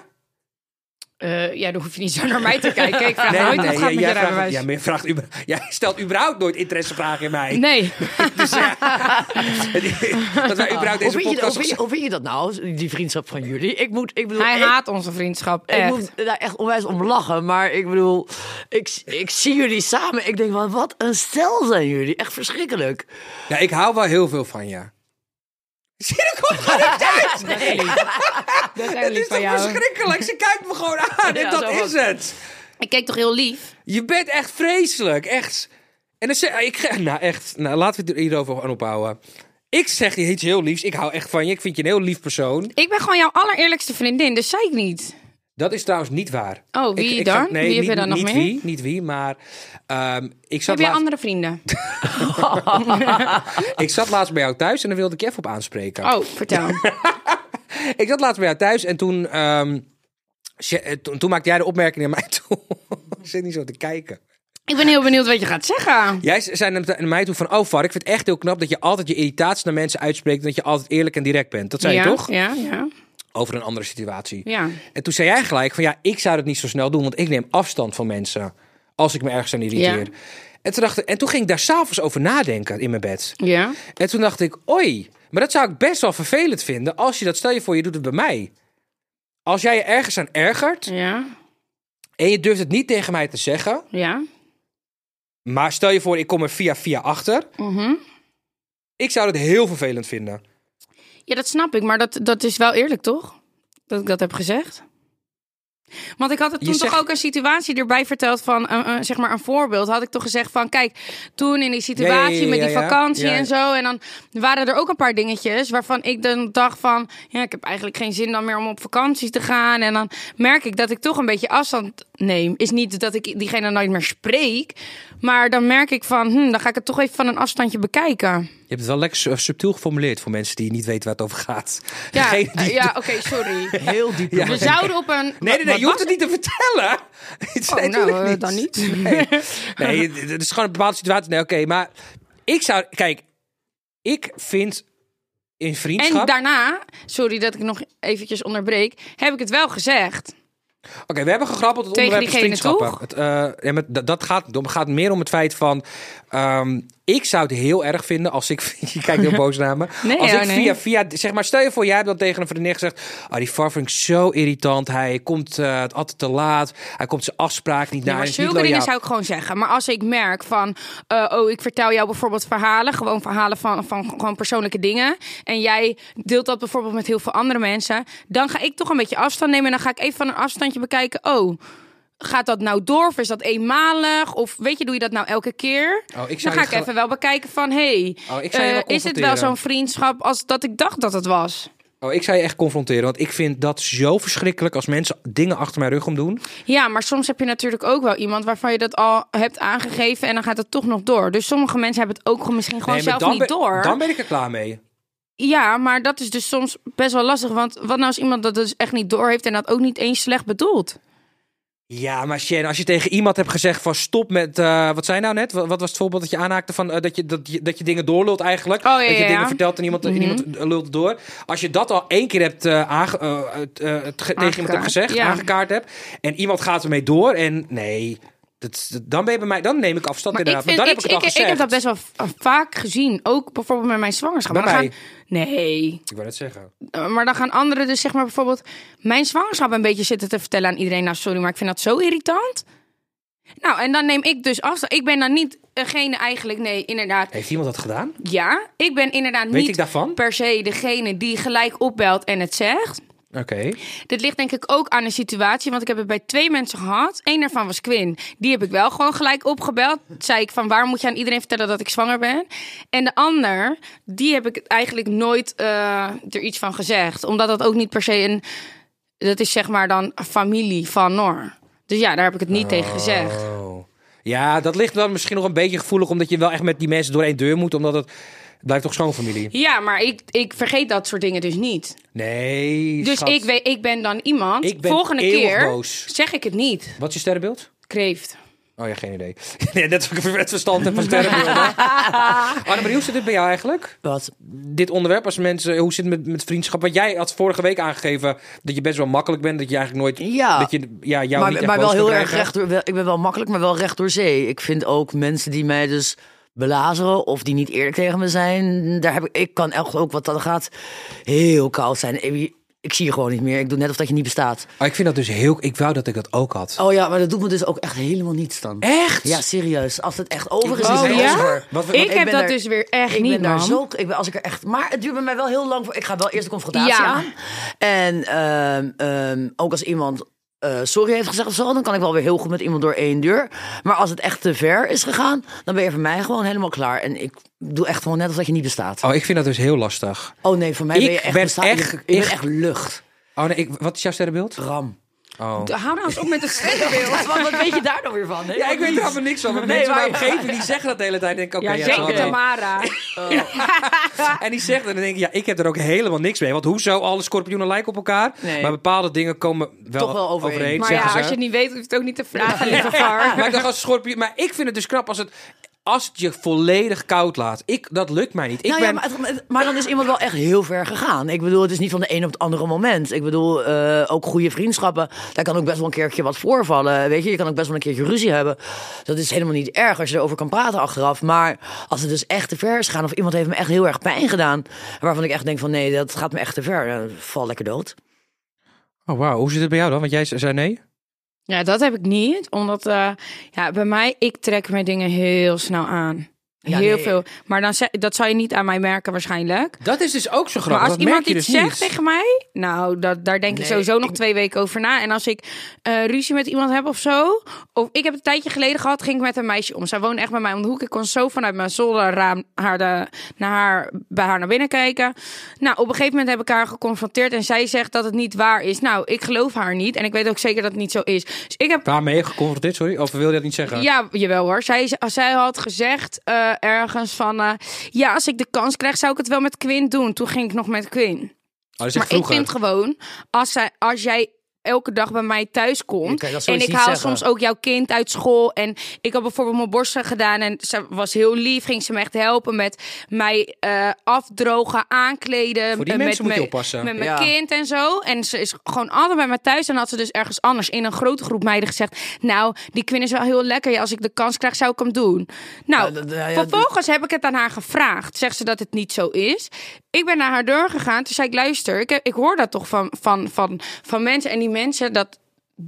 B: Eh, ja, dan hoef je niet zo naar mij te kijken. Ik vraag
C: Nee,
B: nooit
C: nee,
B: hoe het gaat met
C: jij-
B: je
C: jij vraagt-
B: rijbewijs.
C: ja, maar je vraagt über- jij stelt überhaupt nooit interessevragen in mij.
B: Nee,
C: Dus ja, dat wij überhaupt deze
D: Hoe vind, je, dat-
C: podcast...
D: hoe, vind je, hoe vind je dat nou, die vriendschap van jullie? Ik moet, ik bedoel,
B: hij
D: ik,
B: haat onze vriendschap.
D: ik
B: Echt.
D: moet daar echt onwijs om lachen. Maar ik bedoel, ik, ik zie jullie samen. Ik denk van, wat een stel zijn jullie. Echt verschrikkelijk.
C: Ja, ik hou wel heel veel van je. Zie je, dat komt gewoon niet uit!
B: Nee. Dat zijn we
C: Het
B: lief
C: is
B: van
C: toch
B: jou.
C: verschrikkelijk? Ze kijkt me gewoon aan en
D: Ja,
C: dat
D: zo
C: is
D: was-
C: het.
B: Ik keek toch heel lief?
C: Je bent echt vreselijk, echt. En dan zeg ik... ge- Nou, echt. Nou, laten we het hierover aan ophouden. Ik zeg je iets heel liefs. Ik hou echt van je. Ik vind je een heel lief persoon.
B: Ik ben gewoon jouw allereerlijkste vriendin, dus zei ik niet.
C: Dat is trouwens niet waar.
B: Oh, wie
C: Ik- ik
B: dan?
C: zat- nee,
B: Wie heb
C: niet,
B: je dan nog
C: niet
B: meer?
C: Wie, niet wie, maar ehm, ik, zat
B: Heb jij
C: laatst,
B: andere vrienden?
C: ik zat laatst bij jou thuis en daar wilde ik je even op aanspreken.
B: Oh, vertel.
C: Ik zat laatst bij jou thuis en toen, ehm, ze- eh, toen, toen maakte jij de opmerking naar mij toe. Ik zit niet zo te kijken.
B: Ik ben heel benieuwd wat je gaat zeggen.
C: Jij ze- zei naar naar mij toe van, oh Var, ik vind het echt heel knap dat je altijd je irritatie naar mensen uitspreekt en dat je altijd eerlijk en direct bent. Dat zei
B: ja,
C: je toch?
B: Ja, ja,
C: Over een andere situatie.
B: ja.
C: En toen zei jij gelijk van ja, ik zou dat niet zo snel doen, want ik neem afstand van mensen als ik me ergens aan irriteer.
B: Ja.
C: En, toen dacht ik, en toen ging ik daar s'avonds over nadenken in mijn bed.
B: ja.
C: En toen dacht ik, oei, maar dat zou ik best wel vervelend vinden als je dat, stel je voor, je doet het bij mij. Als jij je ergens aan ergert
B: Ja,
C: en je durft het niet tegen mij te zeggen,
B: ja.
C: maar stel je voor, ik kom er via via achter.
B: Mhm.
C: Ik zou dat heel vervelend vinden.
B: Ja, dat snap ik, maar dat, dat is wel eerlijk, toch? Dat ik dat heb gezegd. Want ik had het
C: Je
B: toen
C: zegt-
B: toch ook een situatie erbij verteld van, eh, eh, zeg maar een voorbeeld. Had ik toch gezegd van, kijk, toen in die situatie
C: Ja, ja, ja,
B: met die
C: ja, ja.
B: vakantie
C: Ja, ja.
B: en zo. En dan waren er ook een paar dingetjes waarvan ik dan dacht van, ja, ik heb eigenlijk geen zin dan meer om op vakantie te gaan. En dan merk ik dat ik toch een beetje afstand neem. Is niet dat ik diegene nooit meer spreek, maar dan merk ik van, hm, dan ga ik het toch even van een afstandje bekijken.
C: Je hebt het wel lekker su- subtiel geformuleerd voor mensen die niet weten waar het over gaat.
B: Ja,
C: Degene die-
B: eh, ja oké, sorry.
D: Heel diep.
B: We
C: Dus
B: zouden op een.
C: Nee, nee, nee,
B: Wat
C: je hoeft
B: was
C: het niet te vertellen. Het
B: Oh,
C: nee,
B: nou,
C: natuurlijk
B: eh, dan niet.
C: Nee, nee het- het is gewoon een bepaalde situatie. Nee, oké, maar ik zou... Kijk, ik vind in vriendschap...
B: En daarna, sorry dat ik nog eventjes onderbreek, heb ik het wel gezegd.
C: Oké, we hebben gegrabbeld het
B: Tegen
C: onderwerp is
B: diegene,
C: vriendschappen.
B: toch?
C: Het, eh, ja, maar dat, dat gaat niet om. Het gaat meer om het feit van... ehm, ik zou het heel erg vinden als ik... Je kijkt heel boos naar me.
B: Nee,
C: als
B: oh,
C: ik
B: nee.
C: via, via... Zeg maar, stel je voor, jij hebt dan tegen een vriendin gezegd... Oh, die Far vind ik zo irritant. Hij komt eh, altijd te laat. Hij komt zijn afspraak niet
B: Ja,
C: naar.
B: maar
C: hij is niet
B: zulke dingen
C: loyaal.
B: zou ik gewoon zeggen. Maar als ik merk van, eh, oh, ik vertel jou bijvoorbeeld verhalen, gewoon verhalen van, van gewoon persoonlijke dingen. En jij deelt dat bijvoorbeeld met heel veel andere mensen. Dan ga ik toch een beetje afstand nemen en dan ga ik even van een afstandje bekijken. Oh, gaat dat nou door? Of is dat eenmalig? Of weet je, doe je dat nou elke keer?
C: Oh, zou
B: dan ga
C: je
B: ik
C: gel-
B: even wel bekijken van, hey,
C: Oh, ik zou je
B: eh,
C: wel
B: is het wel
C: confronteren.
B: zo'n vriendschap als dat ik dacht dat het was?
C: Oh, ik zou je echt confronteren, want ik vind dat zo verschrikkelijk als mensen dingen achter mijn rug om doen.
B: Ja, maar soms heb je natuurlijk ook wel iemand waarvan je dat al hebt aangegeven en dan gaat het toch nog door. Dus sommige mensen hebben het ook gewoon misschien gewoon
C: maar
B: zelf
C: dan
B: niet
C: ben,
B: door.
C: Dan ben ik er klaar mee.
B: Ja, maar dat is dus soms best wel lastig. Want wat nou als iemand dat dus echt niet door heeft en dat ook niet eens slecht bedoelt?
C: Ja, maar Shen, als je tegen iemand hebt gezegd van stop met... eh, wat zei je nou net? Wat, wat was het voorbeeld dat je aanhaakte van eh, dat, je, dat, je, dat je dingen doorlult eigenlijk?
B: Oh, ja,
C: dat je
B: ja, Mhm. ja.
C: dingen vertelt en iemand, en iemand eh, lult door. Als je dat al één keer hebt eh, aange- eh, het, eh, het ge- tegen iemand hebt gezegd,
B: ja.
C: aangekaart hebt... en iemand gaat ermee door en nee... Dat, dat- dan ben je bij mij, dan neem ik afstand
B: Maar ik,
C: inderdaad.
B: vind,
C: maar
B: ik,
C: dan
B: ik,
C: heb ik het
B: ik,
C: al gezegd.
B: heb dat best wel v- eh, vaak gezien. Ook bijvoorbeeld met mijn zwangerschap.
C: Bij
B: Maar dan
C: mij?
B: Gaan, nee.
C: Ik wil het zeggen.
B: Uh, maar dan gaan anderen dus zeg maar bijvoorbeeld mijn zwangerschap een beetje zitten te vertellen aan iedereen. Nou, sorry, maar ik vind dat zo irritant. Nou, en dan neem ik dus afstand. Ik ben dan niet degene eigenlijk, nee, inderdaad.
C: Heeft iemand dat gedaan?
B: Ja, ik ben inderdaad
C: Weet
B: niet
C: ik daarvan?
B: per se degene die gelijk opbelt en het zegt.
C: Oké.
B: Dit ligt denk ik ook aan de situatie, want ik heb het bij twee mensen gehad. Eén daarvan was Quinn. Die heb ik wel gewoon gelijk opgebeld. Zei ik van, waarom moet je aan iedereen vertellen dat ik zwanger ben? En de ander, die heb ik eigenlijk nooit eh, er iets van gezegd. Omdat dat ook niet per se een... Dat is zeg maar dan familie van Noor. Dus ja, daar heb ik het niet tegen gezegd.
C: Oh. Ja, dat ligt dan misschien nog een beetje gevoelig, omdat je wel echt met die mensen door één deur moet, omdat het het blijft toch schoonfamilie.
B: Ja, maar ik, ik vergeet dat soort dingen dus niet.
C: Nee.
B: Dus
C: schat.
B: ik, weet, ik ben dan iemand.
C: Ik ben
B: Volgende
C: eeuwig
B: keer
C: boos.
B: zeg ik het niet.
C: Wat is je sterrenbeeld?
B: Kreeft.
C: Oh ja, geen idee. Nee, net wat ik het verstand heb van sterrenbeelden. Annemarie, hoe zit dit bij jou eigenlijk?
D: Wat?
C: Dit onderwerp als mensen, hoe zit het met, met vriendschap? Want jij had vorige week aangegeven dat je best wel makkelijk bent, dat je eigenlijk nooit,
D: Ja.
C: dat je, ja, jou niet
D: maar,
C: echt
D: maar
C: boos
D: wel
C: kan
D: heel erg
C: krijgen.
D: recht door, wel- ik ben wel makkelijk, maar wel recht door zee. Ik vind ook mensen die mij dus belazeren of die niet eerlijk tegen me zijn, daar heb ik, ik kan echt ook wat dat gaat heel koud zijn. Ik, ik zie je gewoon niet meer. Ik doe net of dat je niet bestaat.
C: Oh, ik vind dat dus heel, ik wou dat ik dat ook had.
D: Oh ja, maar dat doet me dus ook echt helemaal niets dan.
C: Echt?
D: Ja, serieus. Als het echt over is,
C: Oh,
D: is het
B: ja?
D: over.
C: Wat- wat-
B: ik
D: ik
B: heb
D: ben
B: dat
D: daar-
B: dus weer echt
D: ik
B: niet,
D: ben daar
B: man.
D: zo. Ik ben, als ik er echt. Maar het duurt bij mij wel heel lang voor. Ik ga wel eerst de confrontatie
B: Ja.
D: aan. En ehm, ehm, ook als iemand. eh, sorry heeft gezegd of zo, dan kan ik wel weer heel goed met iemand door één deur. Maar als het echt te ver is gegaan, dan ben je voor mij gewoon helemaal klaar. En ik doe echt gewoon net alsof dat je niet bestaat.
C: Oh, ik vind dat dus heel lastig.
D: Oh nee, voor mij
C: Ik
D: ben je echt
C: ben
D: bestaat.
C: echt-
D: ik, ik
C: ik-
D: ben echt lucht.
C: Oh nee, ik, wat is jouw sterrenbeeld?
D: Ram.
C: Oh.
B: Hou nou eens op met het sterrenbeeld.
D: Wat, wat weet je daar nou weer van?
C: Ja, ik weet er helemaal niks van. Maar mensen
D: maar-
C: in mijn omgeving die zeggen dat de hele tijd. Denk, ik, oké,
B: Ja,
C: ja,
B: zeker
C: oké.
B: Tamara.
C: En die zegt en dan denk ik, ja, ik heb er ook helemaal niks mee. Want hoezo, alle schorpioenen lijken op elkaar.
D: Nee.
C: Maar bepaalde dingen komen wel,
D: Toch wel overeen.
B: Maar ja,
C: zeggen
B: als je
C: ze.
B: het niet weet, hoef je het ook niet te vragen, lieve Var.
C: Maar ik dacht als schorpioen... Maar ik vind het dus knap als het... Als het je volledig koud laat. Ik, dat lukt mij niet. Ik
D: nou
C: ben...
D: ja, maar, het- maar dan is iemand wel echt heel ver gegaan. Ik bedoel, het is niet van de een op het andere moment. Ik bedoel, eh, ook goede vriendschappen. Daar kan ook best wel een keertje wat voorvallen. Weet je, je kan ook best wel een keertje ruzie hebben. Dat is helemaal niet erg als je erover kan praten achteraf. Maar als het dus echt te ver is gaan, of iemand heeft me echt heel erg pijn gedaan. waarvan ik echt denk van nee, dat gaat me echt te ver. eh, val lekker dood.
C: Oh, wauw. Hoe zit het bij jou dan? Want jij zei nee.
B: Ja, dat heb ik niet. Omdat eh, ja, bij mij, ik trek mijn dingen heel snel aan.
D: Ja,
B: heel
D: nee.
B: veel. Maar dan, ze- dat zal je niet aan mij merken waarschijnlijk.
C: Dat is dus ook zo grappig.
B: Maar als
C: dat
B: iemand
C: merk je
B: iets
C: dus
B: zegt
C: niet.
B: tegen mij, nou, dat, daar denk ik
D: Nee,
B: sowieso nog
D: ik-
B: twee weken over na. En als ik eh, ruzie met iemand heb of zo, of ik heb een tijdje geleden gehad, ging ik met een meisje om. Zij woonde echt bij mij om de hoek. Ik kon zo vanuit mijn zolderraam haar de, naar haar, bij haar naar binnen kijken. Nou, op een gegeven moment heb ik haar geconfronteerd en zij zegt dat het niet waar is. Nou, ik geloof haar niet en ik weet ook zeker dat het niet zo is. Dus ik heb
C: Waarmee geconfronteerd, sorry? Of wil je dat niet zeggen?
B: ja, jawel hoor. Zij, zij had gezegd eh, ergens van... eh, ja, als ik de kans krijg, zou ik het wel met Quinn doen. Toen ging ik nog met Quinn.
C: Oh, dat is echt
B: Maar ik
C: vroeger.
B: vind gewoon, als, zij, als jij elke dag bij mij thuis
D: Dan
B: komt...
D: kan je dat
B: en
D: zoiets
B: ik
D: niet
B: haal
D: zeggen.
B: soms ook jouw kind uit school... en ik had bijvoorbeeld mijn borsten gedaan en ze was heel lief... ging ze me echt helpen met mij eh, afdrogen, aankleden...
C: Voor die
B: eh,
C: mensen
B: met
C: moet je
B: me-
C: oppassen.
B: Met mijn
D: Ja.
B: kind en zo. En ze is gewoon altijd bij mij thuis. En had ze dus ergens anders in een grote groep meiden gezegd... nou, die Quinn is wel heel lekker. Ja, als ik de kans krijg, zou ik hem doen. Nou,
D: Ja, dat- ja, ja,
B: vervolgens heb ik het aan haar gevraagd. Zegt ze dat het niet zo is. Ik ben naar haar deur gegaan. Toen zei ik, luister, ik, ik hoor dat toch van, van, van, van mensen. En die mensen, dat...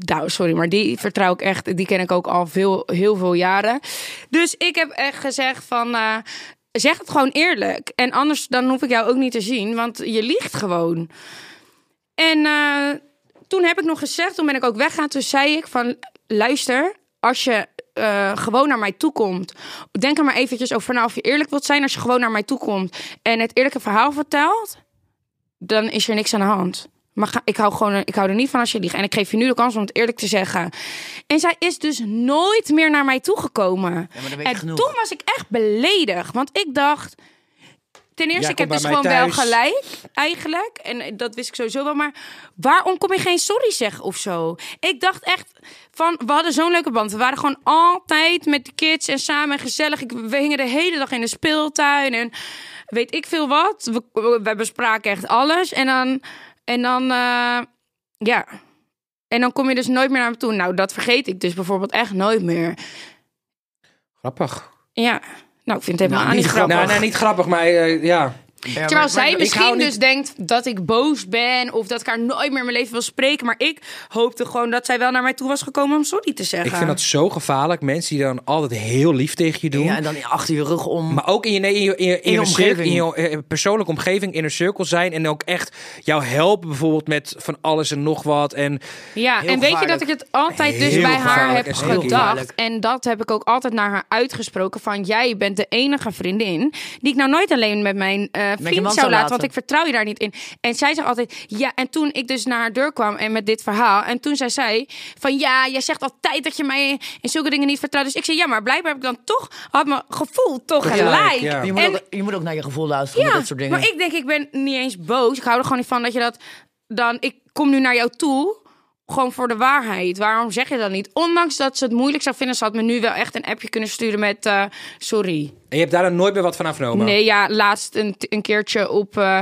B: Nou, sorry, maar die vertrouw ik echt. Die ken ik ook al veel, heel veel jaren. Dus ik heb echt gezegd van... eh, zeg het gewoon eerlijk. En anders dan hoef ik jou ook niet te zien. Want je liegt gewoon. En eh, toen heb ik nog gezegd, toen ben ik ook weggaan. Toen zei ik van, luister, als je eh, gewoon naar mij toe komt... denk er maar eventjes over na of je eerlijk wilt zijn... als je gewoon naar mij toe komt en het eerlijke verhaal vertelt... dan is er niks aan de hand. Maar ga- ik, hou gewoon, ik hou er niet van als je liegt. En ik geef je nu de kans om het eerlijk te zeggen. En zij is dus nooit meer naar mij toegekomen.
D: maar dan weet je
B: en
D: genoeg.
B: toen was ik echt beledigd. Want ik dacht, ten eerste,
C: Jij
B: ik heb dus
C: komt bij
B: gewoon
C: mij
B: wel
C: thuis.
B: gelijk, eigenlijk. En eh, dat wist ik sowieso wel. Maar waarom kom je geen sorry zeggen of zo? Ik dacht echt van, we hadden zo'n leuke band. We waren gewoon altijd met de kids en samen en gezellig. Ik, we hingen de hele dag in de speeltuin en weet ik veel wat. We, we, we bespraken echt alles. En dan, en dan eh, ja. En dan kom je dus nooit meer naar me toe. Nou, dat vergeet ik dus bijvoorbeeld echt nooit meer.
C: Grappig.
B: Ja. Nou, ik vind het helemaal
D: Nou,
B: niet
D: niet
B: grappig.
D: grappig.
C: Nou, nee, niet grappig, maar eh, ja.
B: Terwijl zij
C: ik
B: misschien
C: hou niet-
B: dus denkt dat ik boos ben of dat ik haar nooit meer in mijn leven wil spreken. Maar ik hoopte gewoon dat zij wel naar mij toe was gekomen om sorry te zeggen.
C: Ik vind dat zo gevaarlijk. Mensen die dan altijd heel lief tegen je doen.
D: Ja, en dan achter je rug om.
C: Maar ook in je, nee, in je, in je, in je,
D: omgeving.
C: cirkel- in je, eh, persoonlijke omgeving, in een cirkel zijn. En ook echt jou helpen bijvoorbeeld met van alles en nog wat. En
B: Ja,
D: Heel
B: en weet je dat
D: gevaarlijk.
B: ik het altijd dus
C: Heel
B: bij haar
C: gevaarlijk
B: heb
C: en heel
B: gedacht.
D: gevaarlijk.
B: En dat heb ik ook altijd naar haar uitgesproken. Van jij bent de enige vriendin die ik nou nooit alleen met mijn eh, vriend zou
D: man
B: laten,
D: zou laten.
B: Want ik vertrouw je daar niet in. En zij zegt altijd ja. En toen ik dus naar haar deur kwam en met dit verhaal. En toen zij zei van ja, jij zegt altijd dat je mij in zulke dingen niet vertrouwt. Dus ik zei ja, maar blijkbaar heb ik dan toch, had mijn gevoel toch
D: Gelijk,
B: gelijk.
C: ja.
D: Je, moet
B: En-
D: ook, je moet ook naar je gevoel luisteren met dat soort dingen.
B: maar ik denk, ik ben niet eens boos. Ik hou er gewoon niet van dat je dat dan. Ik kom nu naar jou toe. Gewoon voor de waarheid. Waarom zeg je dat niet? Ondanks dat ze het moeilijk zou vinden, ze had me nu wel echt een appje kunnen sturen met eh, sorry.
C: En je hebt daar dan nooit meer wat van afgenomen.
B: Nee, ja, laatst een, een keertje op, eh,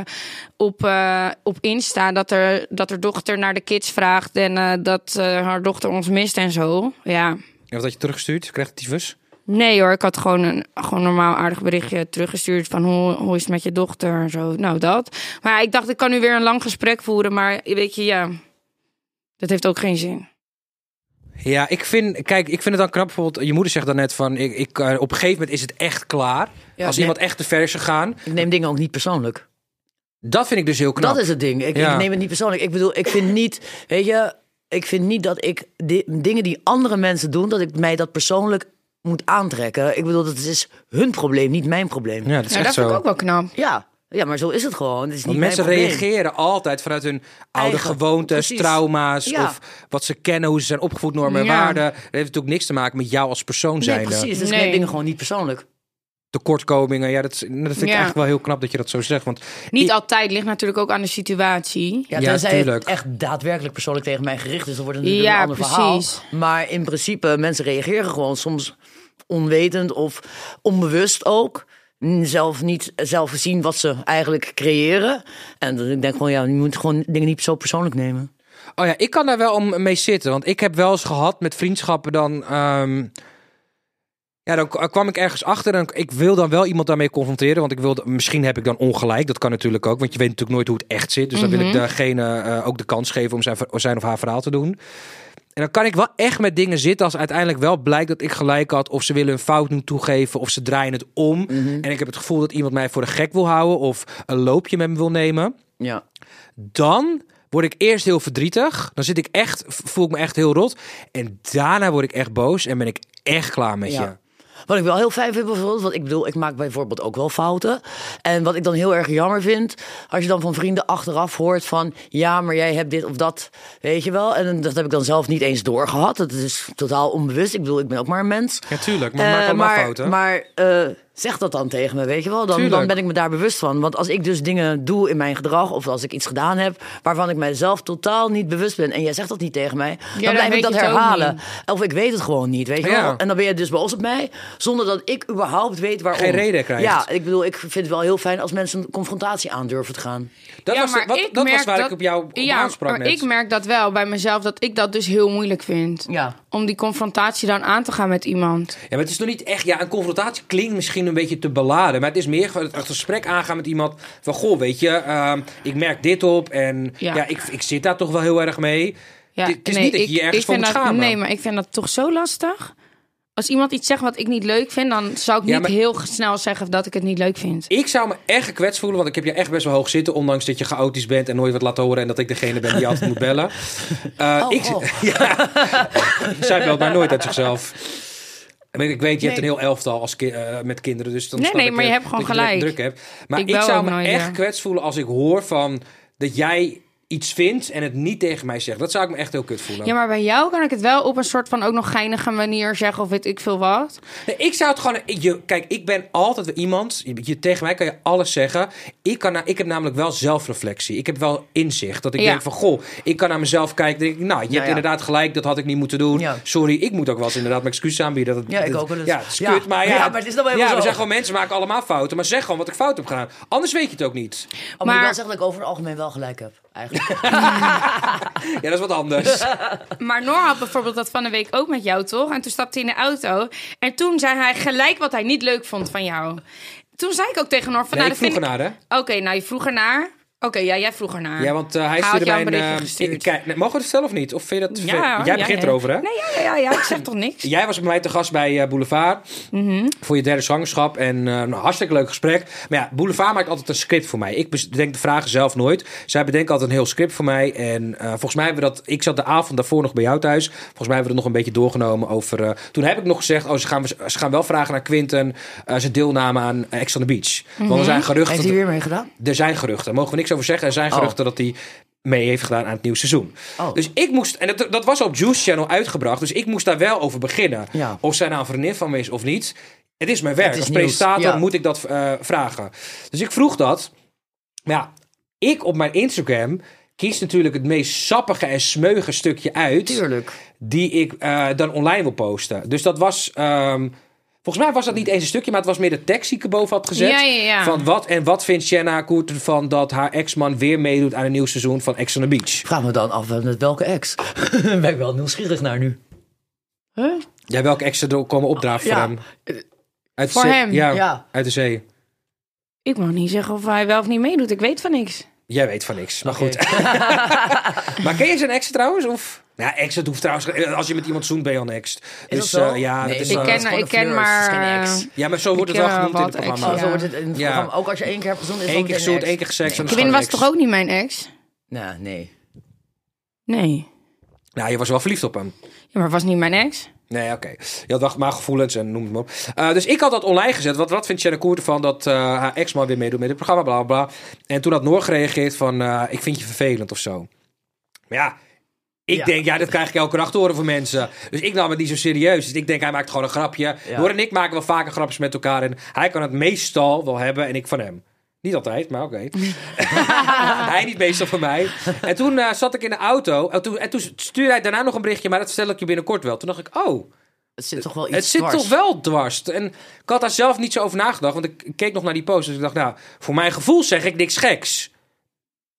B: op, eh, op Insta dat er, dat haar dochter naar de kids vraagt en eh, dat eh, haar dochter ons mist en zo. Ja.
C: Of dat je teruggestuurd krijgt het tyfus.
B: Nee hoor, ik had gewoon een gewoon normaal aardig berichtje teruggestuurd van hoe, hoe is het met je dochter en zo. Nou, dat. Maar ja, ik dacht, ik kan nu weer een lang gesprek voeren, maar weet je, ja, dat heeft ook geen zin.
C: Ja, ik vind, kijk, ik vind het dan knap. Bijvoorbeeld, je moeder zegt dan net van, ik, ik, eh, op een gegeven moment is het echt klaar.
D: Ja,
C: Als
D: nee.
C: iemand echt te ver is gegaan.
D: ik neem dingen ook niet persoonlijk.
C: Dat vind ik dus heel knap.
D: Dat is het ding. Ik,
C: Ja.
D: ik neem het niet persoonlijk. Ik bedoel, ik vind niet, weet je, ik vind niet dat ik di- dingen die andere mensen doen, dat ik mij dat persoonlijk moet aantrekken. Ik bedoel, dat is hun probleem, niet mijn probleem. Ja,
C: Ja, dat is
B: Ja,
C: echt
B: dat
C: zo.
B: vind ik ook wel knap.
D: ja, maar zo is het gewoon. Het is niet
C: Want mensen
D: mijn probleem.
C: reageren altijd vanuit hun oude
D: Eigen,
C: gewoontes,
D: precies.
C: trauma's
D: Ja.
C: of wat ze kennen, hoe ze zijn opgevoed, normen en
B: Ja.
C: waarden. Dat heeft natuurlijk niks te maken met jou als persoon
D: Nee,
C: zijnde.
D: precies. Dus
B: Nee.
D: ik neem dingen gewoon niet persoonlijk.
C: Tekortkomingen, ja, dat, is- dat vind ik
B: Ja.
C: eigenlijk wel heel knap dat je dat zo zegt. Want
B: Niet
C: ik-
B: altijd, ligt natuurlijk ook aan de situatie.
D: Ja,
C: Ja,
D: tenzij
C: tuurlijk.
D: het echt daadwerkelijk persoonlijk tegen mij gericht is, dan wordt het natuurlijk
B: Ja,
D: een ander
B: precies.
D: verhaal. Maar in principe, mensen reageren gewoon soms onwetend of onbewust ook. Mm, Zelf niet zelf zien wat ze eigenlijk creëren. En dan- ik denk gewoon, ja, je moet gewoon dingen niet zo persoonlijk nemen.
C: Oh ja, ik kan daar wel om mee zitten. Want ik heb wel eens gehad met vriendschappen dan. ehm, ja, dan k- kwam ik ergens achter en ik wil dan wel iemand daarmee confronteren. Want ik wil, misschien heb ik dan ongelijk. Dat kan natuurlijk ook. Want je weet natuurlijk nooit hoe het echt zit. Dus dan wil ik degene eh, ook de kans geven om zijn, ver- zijn of haar verhaal te doen. En dan kan ik wel echt met dingen zitten als uiteindelijk wel blijkt dat ik gelijk had. Of ze willen een fout niet toegeven of ze draaien het om. En ik heb het gevoel dat iemand mij voor de gek wil houden of een loopje met me wil nemen
D: Ja.
C: dan word ik eerst heel verdrietig. Dan zit ik echt, voel ik me echt heel rot. En daarna word ik echt boos en ben ik echt klaar met je.
D: Ja. Wat ik wel heel fijn vind bijvoorbeeld, want ik bedoel, ik maak bijvoorbeeld ook wel fouten. En wat ik dan heel erg jammer vind, als je dan van vrienden achteraf hoort van, ja, maar jij hebt dit of dat, weet je wel. En dat heb ik dan zelf niet eens doorgehad. Dat is totaal onbewust. Ik bedoel, ik ben ook maar een mens.
C: Natuurlijk,
D: Eh, maar maar eh, zeg dat dan tegen me, weet je wel. Dan,
C: Tuurlijk.
D: dan ben ik me daar bewust van. Want als ik dus dingen doe in mijn gedrag... of als ik iets gedaan heb waarvan ik mijzelf totaal niet bewust ben... en jij zegt dat niet tegen mij,
B: dan
D: dan blijf
B: weet
D: ik dat
B: je het ook
D: herhalen. Of ik weet het gewoon niet, weet je
C: Ja.
D: wel. En dan ben je dus boos op mij... zonder dat ik überhaupt weet waarom.
C: Geen reden krijgt.
D: Ja, ik bedoel, ik vind het wel heel fijn... als mensen een confrontatie aandurven te gaan.
C: Dat,
B: Ja,
C: was,
B: maar
C: wat,
B: ik
C: dat was
B: merk
C: waar
B: dat-
C: ik op jou op
B: ja,
C: aansprak
B: maar
C: net.
B: ik merk dat wel bij mezelf, dat ik dat dus heel moeilijk vind.
D: Ja.
B: Om die confrontatie dan aan te gaan met iemand.
C: Ja, maar het is nog niet echt... Ja, een confrontatie klinkt misschien een beetje te beladen. Maar het is meer het het gesprek aangaan met iemand. Van, goh, weet je, ehm, ik merk dit op. En
B: Ja.
C: ja, ik, ik zit daar toch wel heel erg mee.
B: Ja,
C: het is
B: nee,
C: niet dat je
B: ik-
C: je ergens
B: ik
C: voor
B: vind
C: moet
B: dat-
C: schamen.
B: Nee, maar ik vind dat toch zo lastig. Als iemand iets zegt wat ik niet leuk vind, dan zou ik
C: Ja,
B: niet
C: maar-
B: heel snel zeggen dat ik het niet leuk vind.
C: Ik zou me echt gekwetst voelen, want ik heb je echt best wel hoog zitten. Ondanks dat je chaotisch bent en nooit wat laat horen. En dat ik degene ben die altijd moet bellen. Eh,
D: Oh,
C: ik,
D: oh.
C: ja, zij belt mij nooit uit zichzelf. Ik weet- ik weet, je hebt een heel elftal als ki- eh, met kinderen. Dus dan
B: Nee,
C: snap
B: nee,
C: ik
B: maar je
C: dat-
B: hebt gewoon
C: dat je
B: gelijk.
C: druk hebt. Maar
B: Ik
C: ik,
B: bel
C: zou
B: ook
C: me
B: nooit,
C: echt
B: ja.
C: kwets voelen als ik hoor van dat jij iets vindt en het niet tegen mij zegt. Dat zou ik me echt heel kut voelen.
B: Ja, maar bij jou kan ik het wel op een soort van ook nog geinige manier zeggen of weet ik veel wat.
C: Nee, ik zou het gewoon. ik- je, kijk, ik ben altijd wel iemand. Je, je- tegen mij kan je alles zeggen. Ik, kan, na- ik heb namelijk wel zelfreflectie. Ik heb wel inzicht. Dat ik
B: Ja.
C: denk van goh, ik kan naar mezelf kijken. Denk ik, nou, je hebt
D: ja.
C: inderdaad gelijk. Dat had ik niet moeten doen.
D: Ja.
C: Sorry, ik moet ook wel eens inderdaad mijn excuses aanbieden. Dat, het-
D: Ja, ik
C: dat-
D: ook wel eens.
C: Ja, het is
D: Ja.
C: kut, maar ja.
D: Ja, maar het is dan wel helemaal
C: ja, we
D: zo.
C: zijn gewoon mensen, maken allemaal fouten. Maar zeg gewoon wat ik fout heb gedaan. Anders weet je het ook niet.
D: Oh, maar ik
B: Maar-
D: wil zeggen dat ik over het algemeen wel gelijk heb. Eigenlijk.
C: Ja, dat is wat anders.
D: Nou,
B: Maar Noor had bijvoorbeeld dat van de week ook met jou, toch? En toen stapte hij in de auto. En toen zei hij gelijk wat hij niet leuk vond van jou. Toen zei ik ook tegen Noor van...
C: Nee,
B: nou,
C: ik
B: dat
C: vroeg
B: vind
C: ernaar, hè?
D: Ah.
B: Oké, nou, je vroeg ernaar. Oké, ja, jij vroeg ernaar.
C: Ja, want eh, hij
B: had
C: stuurde
B: jou een
C: mij een...
B: berichtje
C: eh,
B: gestuurd.
C: kijk, nee, mogen we het zelf of niet? Of vind je dat...
B: Ja,
C: vervelend? eh, Jij
B: ja,
C: begint
B: ja.
C: erover, hè?
B: Nee, ja, ja, ja, ja, ik zeg toch niks?
C: Jij was bij mij te gast bij eh, Boulevard voor je derde zwangerschap. En eh, nou, hartstikke leuk gesprek. Maar ja, Boulevard maakt altijd een script voor mij. Ik bedenk de vragen zelf nooit. Zij bedenken altijd een heel script voor mij. En eh, volgens mij hebben we dat... Ik zat de avond daarvoor nog bij jou thuis. Volgens mij hebben we dat nog een beetje doorgenomen over... eh, toen heb ik nog gezegd, oh, ze, gaan, ze gaan wel vragen naar Quinten. eh zijn deelname aan eh, Ex on the Beach. Want er zijn geruchten...
D: Heeft hij weer mee gedaan?
C: Er zijn geruchten, daar mogen we niks over zeggen. Er zijn
D: Oh.
C: geruchten dat hij mee heeft gedaan aan het nieuwe seizoen.
D: Oh.
C: Dus ik moest, en dat, dat was op Juice Channel uitgebracht, dus ik moest daar wel over beginnen.
D: Ja.
C: Of zij nou een vriendin van me is of niet. Het is mijn werk.
D: is
C: Als
D: nieuws,
C: presentator
D: ja.
C: moet ik dat eh, vragen. Dus ik vroeg dat. Maar ja, ik op mijn Instagram kies natuurlijk het meest sappige en smeuige stukje uit
D: Tuurlijk.
C: die ik eh, dan online wil posten. Dus dat was. ehm, volgens mij was dat niet eens een stukje, maar het was meer de tekst die ik erboven had gezet.
B: Ja, ja, ja.
C: Van wat en wat vindt Shanna Koerten van dat haar ex-man weer meedoet aan een nieuw seizoen van Ex on the Beach?
D: Ik vraag me dan af eh, met welke ex. ben ik wel nieuwsgierig naar nu.
C: Nou Ja, welke ex er komen opdraven
D: Ja.
C: voor hem? Uit de
B: Voor
C: zee-
B: hem?
C: Ja,
D: Ja.
C: uit de zee.
B: Ik mag niet zeggen of hij wel of niet meedoet. Ik weet van niks.
C: Jij weet van niks, maar goed. maar ken je zijn ex trouwens? Of? Nou, ex, dat hoeft trouwens. eh, Als je met iemand zoent, ben je al een ex.
D: Is
C: Dus
D: dat zo?
C: eh, ja,
D: Nee,
C: dat is,
B: Ik
C: eh,
B: ken,
D: gewoon
B: ik
D: een
B: ken
D: fleur, het is
B: maar...
D: geen ex.
B: eh,
C: ja, maar zo wordt
B: ik
C: het wel
B: ken
C: genoemd in
B: wel
C: het
B: wat ex,
C: programma.
D: Oh,
B: Ja.
D: zo wordt het in het
C: Ja.
D: programma. Ook als je één keer hebt gezond, Oh, is het
C: Eén
D: dan
C: keer
D: meteen een
C: zoet, één keer seks. en dan is
B: Quinn
C: het
B: was
C: gewoon
B: toch ook
C: een
B: niet mijn ex?
D: ex. Nee, Nou, nee.
B: Nee.
C: ex? Nou, je was wel verliefd op hem.
B: Ja, maar was niet mijn ex?
C: Nee, oké. Je had wel maar gevoelens en noem het maar op. Eh, dus ik had dat online gezet. Wat, wat vindt Shannon Koert ervan dat eh, haar ex-man weer meedoet met het programma, bla bla bla. En toen had Noor gereageerd van, eh, ik vind je vervelend of zo. Maar ja, ik
D: Ja.
C: denk, ja, dat krijg ik elke dag te horen van mensen. Dus ik nam het niet zo serieus. Dus ik denk, hij maakt gewoon een grapje.
D: Ja.
C: Noor en ik maken wel vaker grapjes met elkaar. En hij kan het meestal wel hebben en ik van hem. Niet altijd, maar oké. hij niet meestal van mij. En toen eh, zat ik in de auto. En toen, en toen stuurde hij daarna nog een berichtje. Maar dat stel ik je binnenkort wel. Toen dacht ik, oh,
D: Het zit toch wel iets
C: het zit
D: dwars.
C: toch wel dwars. En ik had daar zelf niet zo over nagedacht. Want ik keek nog naar die post. Dus ik dacht, nou, voor mijn gevoel zeg ik niks geks.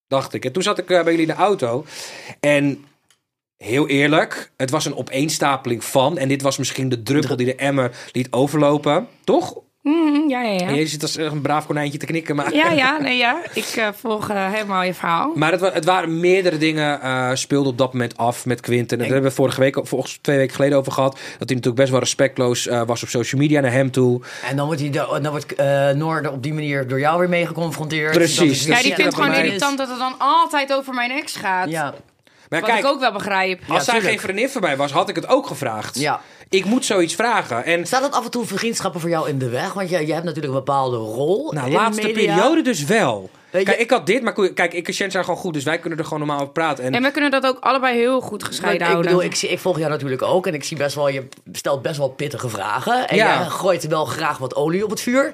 C: Dacht ik. En toen zat ik eh, bij jullie in de auto. En heel eerlijk, het was een opeenstapeling van. En dit was misschien de druppel die de emmer liet overlopen. Toch?
B: Mm, ja, ja,
C: En
B: ja.
C: je zit als eh, een braaf konijntje te knikken. Maar...
B: Ja, ja, nee, ja. Ik eh, volg eh, helemaal je verhaal.
C: Maar het, wa- het waren meerdere dingen eh speelden op dat moment af met Quinten. En daar hebben we vorige week, volgens twee weken geleden over gehad. Dat hij natuurlijk best wel respectloos eh, was op social media naar hem toe.
D: En dan wordt, hij, de- dan wordt eh, Noor er op die manier door jou weer mee geconfronteerd.
C: Precies.
D: Dat is
C: Ja,
B: Ja, die
C: zie je
B: vindt
C: dat bij
B: gewoon
C: mij is.
B: irritant dat het dan altijd over mijn ex gaat.
D: Ja,
C: Maar
B: Wat ik ook wel begrijp.
C: Als zij
D: tuurlijk.
C: geen vriendin van mij was, had ik het ook gevraagd.
D: Ja.
C: Ik moet zoiets vragen. En
D: Staat dat af en toe vriendschappen voor jou in de weg? Want je, je hebt natuurlijk een bepaalde rol.
C: nou,
D: in de
C: laatste
D: media.
C: periode dus wel.
D: Eh,
C: Kijk,
D: je-
C: ik had dit, maar ko- kijk, ik en Shen zijn gewoon goed, dus wij kunnen er gewoon normaal over praten. En,
B: En we kunnen dat ook allebei heel goed
D: Maar
B: gescheiden
D: Ik
B: houden.
D: bedoel, ik, zie, ik volg jou natuurlijk ook en ik zie best wel, je stelt best wel pittige vragen. En
C: Ja.
D: jij gooit wel graag wat olie op het vuur.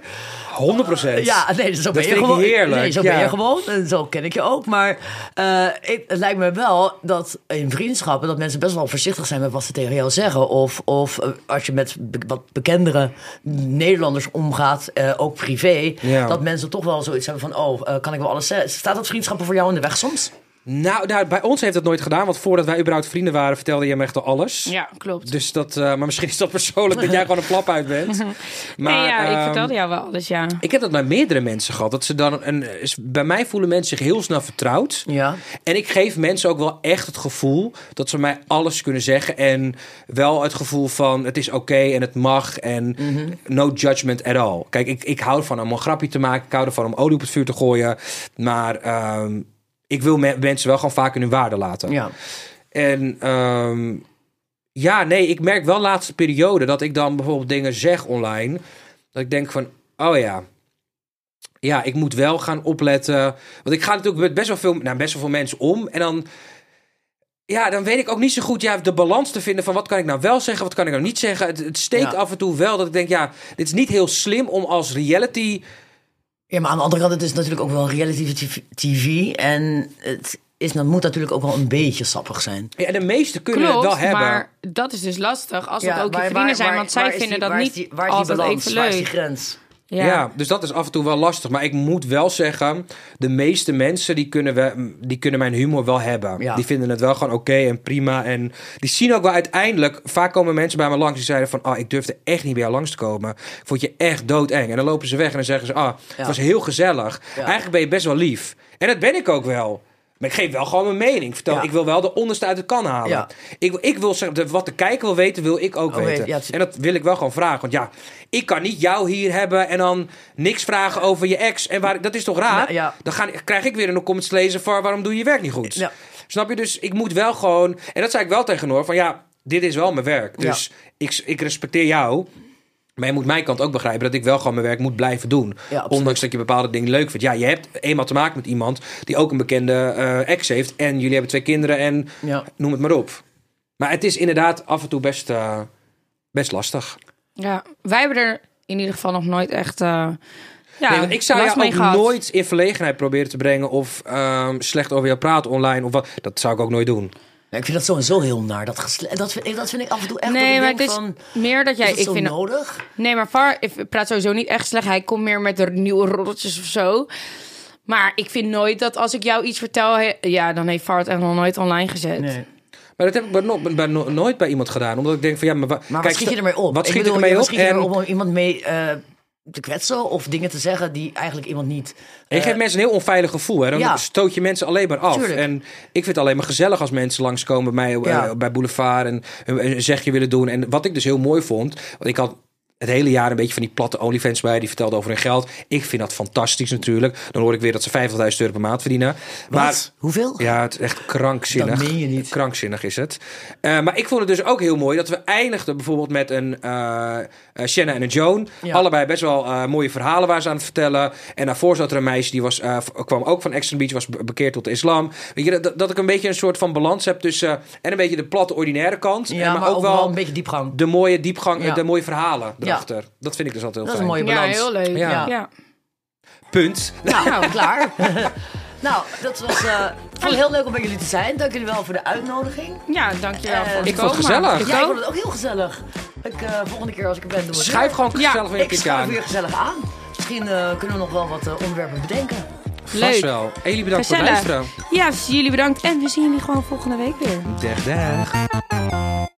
C: 100 procent.
D: Ja, nee, dus- zo ben
C: vind
D: je
C: ik
D: gewoon.
C: heerlijk,
D: Nee, zo
C: ja.
D: ben je gewoon. En zo ken ik je ook. Maar eh, ik- het lijkt me wel dat in vriendschappen dat mensen best wel voorzichtig zijn met wat ze tegen jou zeggen. Of, of eh, als je met be- wat bekendere Nederlanders omgaat, eh, ook privé,
C: Ja.
D: dat mensen toch wel zoiets hebben van: oh, eh, kan ik wel alles zeggen? Staat dat vriendschappen voor jou in de weg soms?
C: Nou, nou, bij ons heeft dat nooit gedaan, want voordat wij überhaupt vrienden waren, vertelde je me echt al alles.
B: Ja, klopt.
C: Dus dat, eh, maar misschien is dat persoonlijk dat jij gewoon een flap uit bent. Maar,
B: nee, ja, ik
C: ehm,
B: vertelde jou wel, dus ja.
C: Ik heb dat bij meerdere mensen gehad. Dat ze dan een, is- bij mij voelen mensen zich heel snel vertrouwd.
D: Ja.
C: En ik geef mensen ook wel echt het gevoel dat ze mij alles kunnen zeggen. En wel het gevoel van het is oké en het mag. En no judgment at all. Kijk, ik, ik hou ervan om een grapje te maken. Ik hou ervan om olie op het vuur te gooien. Maar ehm, ik wil me- mensen wel gewoon vaak in hun waarde laten.
D: Ja.
C: En ehm, ja, nee, ik merk wel laatste periode dat ik dan bijvoorbeeld dingen zeg online. Dat ik denk van, oh ja, ja, ik moet wel gaan opletten. Want ik ga natuurlijk met best wel veel, nou, best wel veel mensen om. En dan, ja, dan weet ik ook niet zo goed ja, de balans te vinden van wat kan ik nou wel zeggen, wat kan ik nou niet zeggen. Het, het steekt
D: Ja.
C: af en toe wel dat ik denk, ja, dit is niet heel slim om als reality.
D: Ja, maar aan de andere kant, het is natuurlijk ook wel reality tv- tv. En het is, dan moet natuurlijk ook wel een beetje sappig zijn.
C: Ja, de meesten kunnen
B: Klopt,
C: het wel hebben.
B: maar dat is dus lastig als het
D: Ja,
B: ook je
D: waar-
B: vrienden
D: waar-
B: zijn,
D: waar-
B: want
D: waar
B: zij
D: is
B: vinden
D: die-
B: dat
D: waar is
B: niet
D: die- waar is die
B: altijd
D: balans?
B: even
D: Waar is die
B: leuk.
D: grens?
C: Ja. dus dat is af en toe wel lastig. Maar ik moet wel zeggen, de meeste mensen die kunnen, we, die kunnen mijn humor wel hebben.
D: Ja.
C: Die vinden het wel gewoon oké en prima. En die zien ook wel uiteindelijk... Vaak komen mensen bij me langs die zeiden van... Ah, ik durfde echt niet bij jou langs te komen. Ik vond je echt doodeng. En dan lopen ze weg en dan zeggen ze... Ah, het
D: Ja.
C: was heel gezellig.
D: Ja.
C: Eigenlijk ben je best wel lief. En dat ben ik ook wel. Maar ik geef wel gewoon mijn mening. Ik Vertel,
D: Ja.
C: Ik wil wel de onderste uit de kan halen.
D: Ja.
C: Ik, ik wil zeggen, de- wat de kijker wil weten, wil ik ook
D: Oh,
C: weten.
D: weet- ja, het-
C: En dat wil ik wel gewoon vragen. Want ja, ik kan niet jou hier hebben en dan niks vragen over je ex. En waar, dat is toch raar?
D: Nou, ja.
C: Dan gaan, krijg ik weer een comments lezen van waarom doe je je werk niet goed?
D: Ja.
C: Snap je? Dus ik moet wel gewoon... En dat zei ik wel tegen Noor, van ja, dit is wel mijn werk.
D: Ja.
C: Dus ik, ik respecteer jou... Maar je moet mijn kant ook begrijpen dat ik wel gewoon mijn werk moet blijven doen.
D: Ja, absoluut.
C: Ondanks dat je bepaalde dingen leuk vindt. Ja, je hebt eenmaal te maken met iemand die ook een bekende eh, ex heeft. En jullie hebben twee kinderen en
D: Ja.
C: noem het maar op. Maar het is inderdaad af en toe best, eh, best lastig.
B: Ja, wij hebben er in ieder geval nog nooit echt. eh, ja,
C: Nee, want ik zou
B: last
C: jou
B: mee
C: ook
B: gehad.
C: nooit in verlegenheid proberen te brengen of ehm, slecht over jou praten online of wat. Dat zou ik ook nooit doen.
D: Ja, ik vind dat sowieso heel naar. Dat, gesle- dat, vind, ik- dat vind ik af en toe echt dat
B: Nee,
D: ik
B: maar
D: denk
B: het is
D: van...
B: meer dat
D: is
B: jij.
D: dat
B: ik
D: zo
B: vind,
D: nodig?
B: nee, maar Far ik praat sowieso niet echt slecht. Hij komt meer met de nieuwe roddeltjes of zo. Maar ik vind nooit dat als ik jou iets vertel, he- ja, dan heeft Far het echt nog nooit online gezet.
D: Nee.
C: Maar dat heb ik bij, no- bij no- nooit bij iemand gedaan. Omdat ik denk van ja, maar, wa-
D: Maar
C: kijk,
D: wat schiet je
C: sta-
D: ermee op?
C: Wat
D: Ik
C: schiet
D: bedoel,
C: je ermee
D: ja,
C: op?
D: wat schiet
C: En-
D: je
B: Ehm,
D: ermee op om iemand mee eh, te kwetsen of dingen te zeggen die eigenlijk iemand niet...
C: En je
D: eh,
C: geeft mensen een heel onveilig gevoel. Hè? Dan
D: Ja.
C: stoot je mensen alleen maar af.
D: Tuurlijk.
C: En ik vind het alleen maar gezellig als mensen langskomen bij mij eh,
D: Ja.
C: bij Boulevard en hun- een zegje willen doen. En wat ik dus heel mooi vond, want ik had het hele jaar een beetje van die platte OnlyFans bij. Die vertelden over hun geld. Ik vind dat fantastisch natuurlijk. Dan hoor ik weer dat ze 50.000 euro per maand verdienen. Maar
D: wat? Hoeveel?
C: ja, het is echt krankzinnig.
D: Dat meen je niet.
C: Krankzinnig is het. Eh, maar ik vond het dus ook heel mooi dat we eindigden bijvoorbeeld met een eh, eh, Shanna en een Joan.
D: Ja.
C: Allebei best wel eh, mooie verhalen waar ze aan het vertellen. En daarvoor zat er een meisje die was, eh, v- kwam ook van Extra Beach, was be- bekeerd tot de islam. Weet je, dat, dat ik een beetje een soort van balans heb tussen eh, en een beetje de platte ordinaire kant.
D: Ja,
C: en, maar, ook wel
D: een beetje diepgang.
C: de mooie diepgang,
D: Ja.
C: de mooie verhalen
D: Ja.
C: erachter. Dat vind ik dus altijd heel
D: Dat is een
C: fijn.
D: mooie
B: Ja,
D: balans.
B: heel leuk.
C: Ja.
B: Ja.
C: Punt.
B: Nou,
D: Klaar. nou, dat was eh, ik vond het heel leuk om bij jullie te zijn. Dank jullie wel voor de uitnodiging.
B: ja, dankjewel.
D: Eh,
B: voor het
C: Ik vond het
B: komen.
C: gezellig.
D: Ja, ik
B: ook.
D: vond het ook heel gezellig. Ik, eh, volgende keer als ik er ben, doen we het
C: Schrijf
D: weer.
C: gewoon
B: Ja,
C: gezellig weer een
D: Ik
C: keertje
D: schuif
C: aan.
D: weer gezellig aan. Misschien eh, kunnen we nog wel wat eh, onderwerpen bedenken.
C: Vast
B: Leuk.
C: wel. En jullie bedankt voor het
B: Gezellig.
C: luisteren.
B: Ja, dus jullie bedankt. En we zien jullie gewoon volgende week weer.
C: Dag, dag.